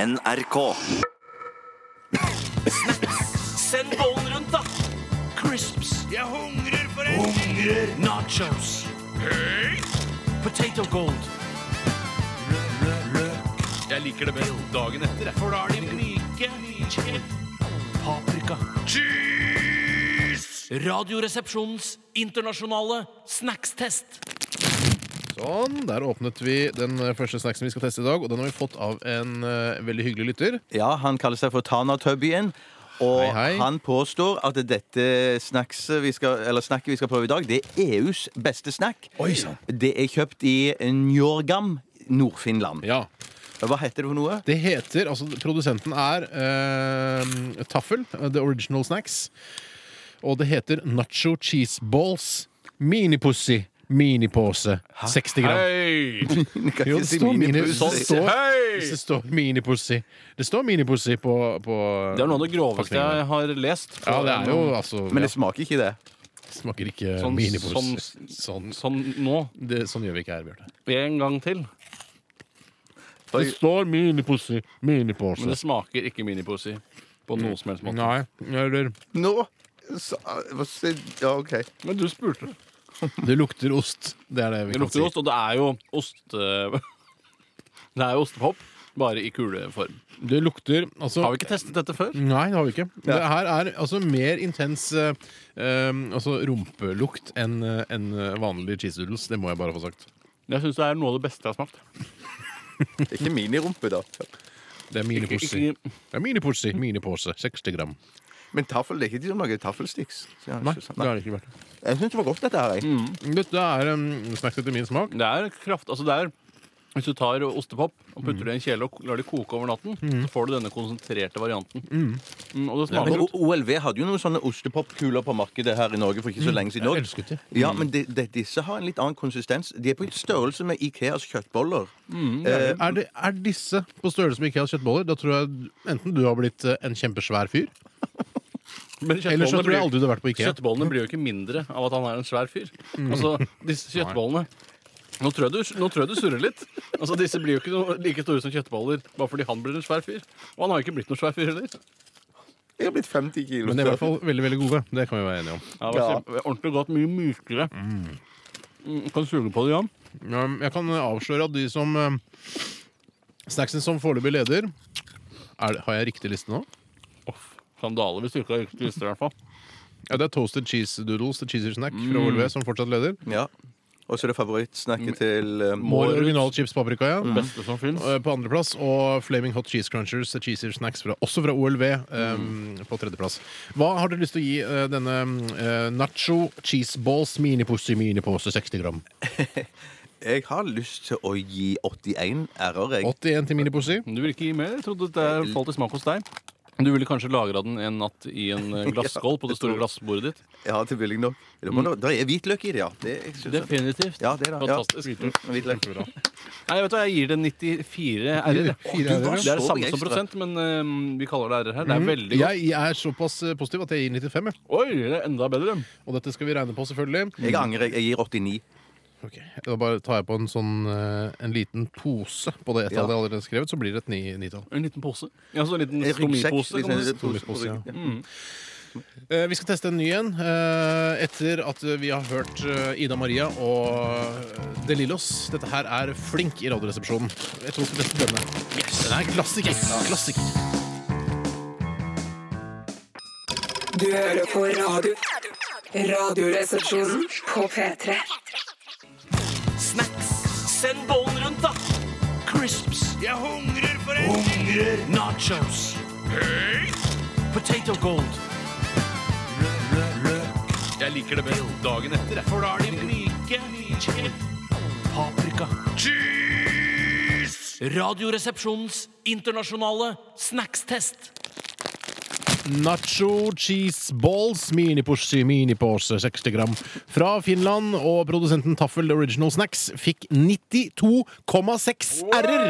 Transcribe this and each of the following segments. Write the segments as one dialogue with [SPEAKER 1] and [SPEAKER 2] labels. [SPEAKER 1] NRK.
[SPEAKER 2] Send bollen rundt, da! Crisps. Jeg hungrer for en Nachos. Potato gold.
[SPEAKER 3] Jeg liker det best dagen etter. jeg.
[SPEAKER 2] For da er de myke. Paprika. Cheese! Radioresepsjonens internasjonale snackstest.
[SPEAKER 4] Sånn, Der åpnet vi den eh, første snacksen vi skal teste i dag, og den har vi fått av en eh, veldig hyggelig lytter.
[SPEAKER 5] Ja, han kaller seg for Tana Tubbyen. Og
[SPEAKER 4] Hei, hei.
[SPEAKER 5] han påstår at dette snackset vi skal, eller snakket vi skal prøve i dag, det er EUs beste snack.
[SPEAKER 4] Oi, sann.
[SPEAKER 5] Det er kjøpt i Njorgam, Nord-Finland.
[SPEAKER 4] Ja.
[SPEAKER 5] Hva heter det for noe?
[SPEAKER 4] Det heter, altså Produsenten er eh, Taffel, The Original Snacks. Og det heter Nacho Cheese Balls Minipussy Minipose. 60 gram.
[SPEAKER 3] Hei!
[SPEAKER 5] Jeg kan
[SPEAKER 4] Jo, det
[SPEAKER 5] ikke si
[SPEAKER 4] står
[SPEAKER 5] mini-
[SPEAKER 4] mini-
[SPEAKER 5] pussy.
[SPEAKER 4] det står-
[SPEAKER 3] Hei!
[SPEAKER 4] Det står minipussy. Det står minipussy på, på
[SPEAKER 3] Det er noe av det groveste
[SPEAKER 4] pakningene.
[SPEAKER 3] jeg har lest.
[SPEAKER 4] Ja, det er jo altså
[SPEAKER 5] Men
[SPEAKER 4] ja,
[SPEAKER 5] det smaker ikke det.
[SPEAKER 4] Smaker ikke
[SPEAKER 3] Sånn-
[SPEAKER 4] minipussy.
[SPEAKER 3] sånn-
[SPEAKER 4] Sånn,
[SPEAKER 3] Sånn nå.
[SPEAKER 4] det, sånn gjør vi ikke her, Bjarte.
[SPEAKER 3] En gang til.
[SPEAKER 4] Det står minipussy
[SPEAKER 3] Men
[SPEAKER 4] Minipose.
[SPEAKER 3] det smaker ikke miniposi på noen som helst måte.
[SPEAKER 4] Nei, eller
[SPEAKER 5] Nå sa- hva si- Ja, OK.
[SPEAKER 3] Men du spurte.
[SPEAKER 4] Det lukter ost. Det er det vi
[SPEAKER 3] Det
[SPEAKER 4] kan si.
[SPEAKER 3] lukter ost, og det er jo ost... eh, Det er jo ostepop, bare i kuleform.
[SPEAKER 4] Det lukter altså,
[SPEAKER 3] Har vi ikke testet dette før?
[SPEAKER 4] Nei, det har vi ikke. Det her er altså mer intens eh, em, altså rumpelukt enn eh, enn vanlige cheese doodles. Det må jeg bare få sagt.
[SPEAKER 3] Jeg syns det er noe av det beste jeg har smakt.
[SPEAKER 5] Ikke minirumpe, da.
[SPEAKER 4] Det er miniporsi.
[SPEAKER 3] Ikke-
[SPEAKER 4] Det er miniporsi, minipose. 60 gram.
[SPEAKER 5] Men taffel, det er ikke de som lager taffelsticks. Så jeg har
[SPEAKER 4] Nei,
[SPEAKER 5] ikke
[SPEAKER 4] det
[SPEAKER 5] sagt-
[SPEAKER 4] har det ikke vært.
[SPEAKER 5] Jeg syns det var godt, dette her. Jeg.
[SPEAKER 4] Dette er um, snacks etter min smak.
[SPEAKER 3] Det er kraft, altså det er Hvis du tar ostepop og putter det i en kjele og ko- lar det koke over natten, så får du denne konsentrerte varianten. Mm, og det smaker
[SPEAKER 5] Men
[SPEAKER 3] godt.
[SPEAKER 5] O- OLV hadde jo noen sånne ostepopkuler på markedet her i Norge for ikke så lenge siden.
[SPEAKER 4] Jeg
[SPEAKER 5] også.
[SPEAKER 4] elsket de.
[SPEAKER 5] Ja, men de, de, disse har en litt annen konsistens. De er på størrelse med Ikeas kjøttboller. eh,
[SPEAKER 4] Er, det, er disse på størrelse med Ikeas kjøttboller? Da tror jeg enten du har blitt eh, en kjempesvær fyr,
[SPEAKER 3] Men
[SPEAKER 4] eller
[SPEAKER 3] kjøttbollene
[SPEAKER 4] så tror jeg
[SPEAKER 3] blir,
[SPEAKER 4] aldri du har vært på Ikea.
[SPEAKER 3] kjøttbollene blir jo ikke mindre av at han er en svær fyr. Altså, disse kjøttbollene nå tror, jeg du, nå tror jeg du surrer litt. Altså, Disse blir jo ikke noe, like store som kjøttboller bare fordi han blir en svær fyr. Og han har jo ikke blitt noen svær fyr heller.
[SPEAKER 5] jeg har blitt 50 kilo
[SPEAKER 4] Men de er i hvert
[SPEAKER 5] større.
[SPEAKER 4] fall veldig veldig gode. Det kan vi være enige om.
[SPEAKER 3] Ja, det
[SPEAKER 5] Ja.
[SPEAKER 3] var kjempe- Ordentlig godt. Mye mykere. Mm, Kan suge på det, Jan.
[SPEAKER 4] Um, Jeg kan uh, avsløre at de som um, Snacksen som foreløpig leder er, det- Har jeg riktig liste nå?
[SPEAKER 3] Off. Skandale hvis du ikke har riktig liste, i hvert fall.
[SPEAKER 4] Ja, Det er Toasted Cheese Doodles The Cheeser Snack
[SPEAKER 3] Mm.
[SPEAKER 4] fra OLV som fortsatt leder.
[SPEAKER 5] Ja. Og så er det favorittsnakket til eh,
[SPEAKER 4] Mår
[SPEAKER 3] Mårud.
[SPEAKER 4] original chips paprika, ja.
[SPEAKER 3] Beste som fins.
[SPEAKER 4] Uh, På andreplass. Og Flaming Hot Cheese Crunchers The Cheeser Snacks, fra, også fra OLV, um,
[SPEAKER 3] Mm.
[SPEAKER 4] på tredjeplass. Hva har dere lyst til å gi uh, denne um, uh, nacho cheese balls minipussy minipose 60 gram?
[SPEAKER 5] Jeg har lyst til å gi 81 r-er, jeg.
[SPEAKER 4] 81 til minipussy?
[SPEAKER 3] Du vil ikke gi mer? Jeg trodde det falt i smak hos deg. Du ville kanskje lagra den en natt i en eh, glasskål på det store glassbordet ditt?
[SPEAKER 5] Ja, til billig nok. Det, må, da- da er hvitløk i det, ja. Det, jeg synes det.
[SPEAKER 3] Definitivt.
[SPEAKER 5] Ja, det er det. Ja.
[SPEAKER 3] Fantastisk.
[SPEAKER 5] Hvitløk.
[SPEAKER 3] Nei, vet du, hva, jeg gir det 94 r-er.
[SPEAKER 4] Fire
[SPEAKER 5] du var
[SPEAKER 4] ærer, ja. Mm.
[SPEAKER 3] Det er det
[SPEAKER 5] Så
[SPEAKER 3] samme som
[SPEAKER 5] begeistret.
[SPEAKER 3] prosent, men eh, vi kaller det r-er her. Det er veldig godt.
[SPEAKER 4] Jeg jeg er såpass uh, positiv at jeg gir 95. jeg.
[SPEAKER 3] Oi, det er enda bedre.
[SPEAKER 4] Og dette skal vi regne på, selvfølgelig.
[SPEAKER 5] Jeg angrer. Jeg gir 89.
[SPEAKER 4] Ok, Da bare tar jeg på en sånn eh, En liten pose på det ettallet
[SPEAKER 5] Ja.
[SPEAKER 4] jeg allerede har skrevet, så blir det et ni- nitall.
[SPEAKER 3] En liten pose. Ja, så en liten
[SPEAKER 5] En ryggsekk,
[SPEAKER 3] stomipose. kan
[SPEAKER 5] liksom.
[SPEAKER 3] man si.
[SPEAKER 4] Stormispose, ja. Eh, vi skal teste en ny en eh, etter at eh, vi har hørt eh, Ida Maria og eh, De Lillos. Dette her er Flink i Radioresepsjonen. Jeg tror vi skal teste denne. Den er en klassiker. klassiker.
[SPEAKER 6] Du hører på radio. Radioresepsjonen på P3.
[SPEAKER 2] Snacks. Send bollen rundt, da! Crisps. Jeg hungrer for en Hungrer. Nachos. Potato gold.
[SPEAKER 3] Jeg liker det best dagen etter. jeg.
[SPEAKER 2] For da er de myke. Paprika. Cheese! Radioresepsjonens internasjonale snackstest.
[SPEAKER 4] Nacho cheese balls minipose, minipose 60 gram fra Finland. Og produsenten Taffel Original Snacks fikk 92,6 r-er!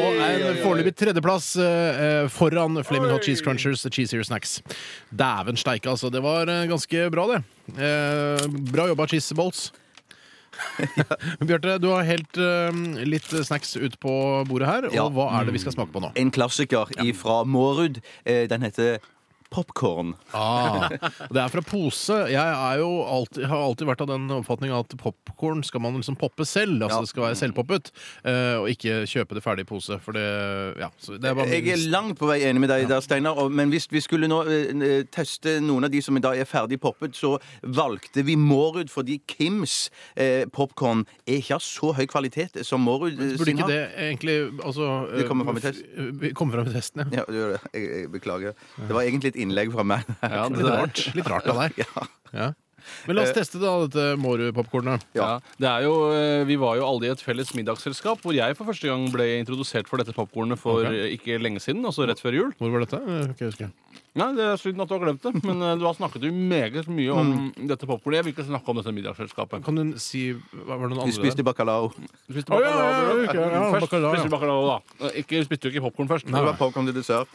[SPEAKER 4] Og en foreløpig tredjeplass eh, eh, foran Flaming Hot Cheese Crunchers Cheesier Snacks. Dæven steike, altså. Det var eh, ganske bra, det. Eh, bra jobba, cheese balls. Bjarte, du har helt eh, litt snacks ut på bordet her. Og
[SPEAKER 5] Ja.
[SPEAKER 4] hva er det vi skal smake på nå?
[SPEAKER 5] En klassiker fra Mårud. Eh, Den heter Popcorn
[SPEAKER 4] Ah, det er fra pose. Jeg er jo alltid, har alltid vært av den oppfatning at popkorn skal man liksom poppe selv. Altså
[SPEAKER 5] Ja.
[SPEAKER 4] det skal være selvpoppet, eh, og ikke kjøpe det ferdig i pose. For det Ja. Så det er bare
[SPEAKER 5] Jeg er langt på vei enig med deg der, Steinar. og- Men hvis vi skulle nå eh, eh, teste noen av de som i dag er ferdig poppet, så valgte vi Mårud fordi Kims eh, popkorn er ikke av så høy kvalitet som Mårud eh,
[SPEAKER 4] Burde
[SPEAKER 5] sin
[SPEAKER 4] ikke
[SPEAKER 5] har.
[SPEAKER 4] det egentlig altså, eh,
[SPEAKER 5] Det kommer fram i test.
[SPEAKER 4] Vi kommer fram i testen, ja.
[SPEAKER 5] Ja, du gjør det. Jeg, jeg beklager. Det var egentlig et innlegg fra meg.
[SPEAKER 3] Ja, det
[SPEAKER 4] Litt
[SPEAKER 3] der.
[SPEAKER 4] rart, litt rart av deg.
[SPEAKER 5] Ja. Eh.
[SPEAKER 4] Ja. Men la oss teste da dette Mårud-popkornet.
[SPEAKER 3] Ja.
[SPEAKER 5] Ja.
[SPEAKER 3] det er jo, eh, vi var jo alle i et felles middagsselskap hvor jeg for første gang ble introdusert for dette popkornet for
[SPEAKER 4] Ok.
[SPEAKER 3] eh, ikke lenge siden. altså rett før jul.
[SPEAKER 4] Hvor var dette? Eh, Ikke husker jeg.
[SPEAKER 3] Nei, det er Synd at du har glemt det, men eh, du har snakket jo meget mye om dette popkornet. Jeg vil ikke snakke om dette middagsselskapet.
[SPEAKER 4] Kan du si hva var det noen
[SPEAKER 5] Vi
[SPEAKER 4] andre
[SPEAKER 5] spiste bacalao.
[SPEAKER 3] Spiste
[SPEAKER 4] Å, ja, ja, ja,
[SPEAKER 3] bacalao,
[SPEAKER 4] ja, ja,
[SPEAKER 3] Først
[SPEAKER 4] bacalao, ja.
[SPEAKER 3] spiste du bacalao, da. Eh, Ikke, spiste jo ikke popkorn først.
[SPEAKER 5] Det var popcorn til dessert.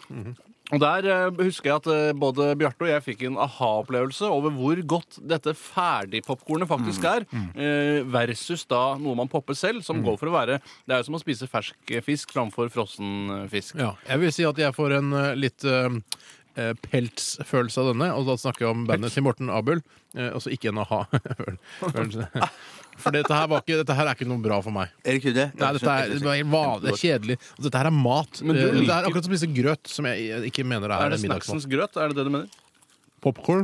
[SPEAKER 3] Og der eh, husker jeg at eh, både Bjarte og jeg fikk en aha-opplevelse over hvor godt dette ferdigpopkornet faktisk er, eh, versus da noe man popper selv, som går for å være Det er jo som å spise fersk eh, fisk framfor frossen eh, fisk.
[SPEAKER 4] Ja, jeg vil si at jeg får en eh, litt eh, eh, peltsfølelse av denne. Og da snakker jeg om bandet til Morten Abel, eh, altså ikke en a-ha-følelse. For dette her, var ikke, dette her er ikke noe bra for meg.
[SPEAKER 5] Er det ikke det?
[SPEAKER 4] Nei, dette er, det er helt vanlig, det er kjedelig. Altså, dette her er mat.
[SPEAKER 3] Men du
[SPEAKER 4] Eh, Det
[SPEAKER 3] liker-
[SPEAKER 4] er akkurat som å spise grøt, som jeg eh, ikke mener
[SPEAKER 3] Er
[SPEAKER 4] er,
[SPEAKER 3] det
[SPEAKER 4] en middagsmat.
[SPEAKER 3] snacksens grøt? Er det det du mener?
[SPEAKER 4] Popkorn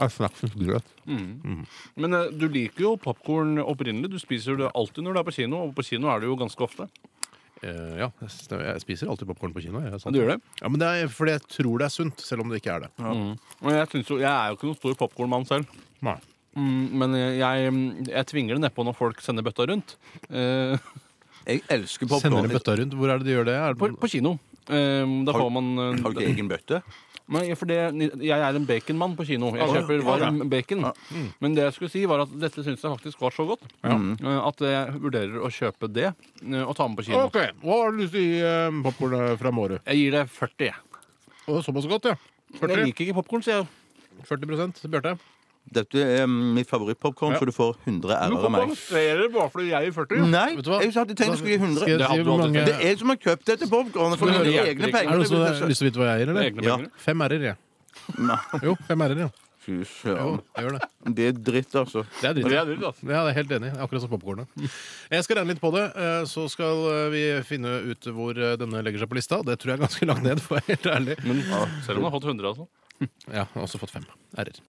[SPEAKER 4] er snacksens grøt.
[SPEAKER 3] Men eh, du liker jo popkorn opprinnelig. Du spiser det alltid når du er på kino, og på kino er det jo ganske ofte.
[SPEAKER 4] Eh, ja, jeg s- jeg spiser alltid popkorn på kino. Jeg, sant.
[SPEAKER 3] Du gjør det?
[SPEAKER 4] Ja, men det er fordi jeg tror det er sunt, selv om det ikke er det.
[SPEAKER 3] Men jeg, synes jo, jeg er jo ikke noen stor popkornmann selv.
[SPEAKER 4] Nei.
[SPEAKER 3] Mm, men jeg, jeg tvinger det nedpå når folk sender bøtta rundt. Eh,
[SPEAKER 5] Jeg elsker
[SPEAKER 4] Sender en
[SPEAKER 5] popkorn.
[SPEAKER 4] bøtta rundt. Hvor er det de gjør det? Er det
[SPEAKER 3] på, på kino. Eh, da får man eh,
[SPEAKER 5] Har du ikke egen bøtte?
[SPEAKER 3] Nei, for det, jeg er en baconmann på kino. Jeg kjøper varm bacon. Men det jeg skulle si var at dette syns jeg faktisk var så godt eh, at jeg vurderer å kjøpe det eh, og ta med på kino.
[SPEAKER 4] Ok, Hva har du lyst til å gi eh, popcorn fra Mårud?
[SPEAKER 3] Jeg gir det 40. jeg.
[SPEAKER 4] Å, det er Såpass godt, ja.
[SPEAKER 3] Jeg
[SPEAKER 4] 40,
[SPEAKER 3] liker ikke popkorn, sier jeg.
[SPEAKER 4] 40 Bjarte.
[SPEAKER 5] Dette er mitt favorittpopkorn, så du får 100 ærer av meg.
[SPEAKER 3] protesterer bare fordi jeg er 40.
[SPEAKER 5] Nei,
[SPEAKER 4] Vet du hva?
[SPEAKER 5] jeg hadde tenkt jeg skulle gi 100.
[SPEAKER 4] Skal jeg
[SPEAKER 3] Det
[SPEAKER 4] si
[SPEAKER 3] hadde du
[SPEAKER 4] hvor
[SPEAKER 3] aldri
[SPEAKER 4] mange
[SPEAKER 5] Det
[SPEAKER 4] Er
[SPEAKER 5] er som har kjøpt dette popkornet for
[SPEAKER 3] Men
[SPEAKER 5] mine
[SPEAKER 3] det hjelper
[SPEAKER 5] egne
[SPEAKER 3] ikke.
[SPEAKER 5] penger.
[SPEAKER 4] det noen som har lyst til å vite hva jeg
[SPEAKER 3] Det
[SPEAKER 4] eier,
[SPEAKER 3] er
[SPEAKER 4] eller?
[SPEAKER 3] egne
[SPEAKER 5] Ja.
[SPEAKER 3] penger.
[SPEAKER 4] Fem r-er, jeg.
[SPEAKER 5] Nei,
[SPEAKER 4] Jo, fem r-er, ja.
[SPEAKER 5] Fy
[SPEAKER 4] Jo,
[SPEAKER 5] søren.
[SPEAKER 4] jeg gjør det.
[SPEAKER 5] Det er dritt, altså.
[SPEAKER 4] Det er dritt.
[SPEAKER 3] Det
[SPEAKER 4] Ja,
[SPEAKER 3] er dyrt, altså.
[SPEAKER 4] det er jeg helt enig i. Akkurat som popkornet. Jeg skal regne litt på det, eh, så skal eh, vi finne ut hvor eh, denne legger seg på lista. Det tror jeg er ganske langt ned, for å være helt ærlig.
[SPEAKER 3] Men selv om du har fått 100, altså.
[SPEAKER 4] Ja, jeg har også fått fem r-er.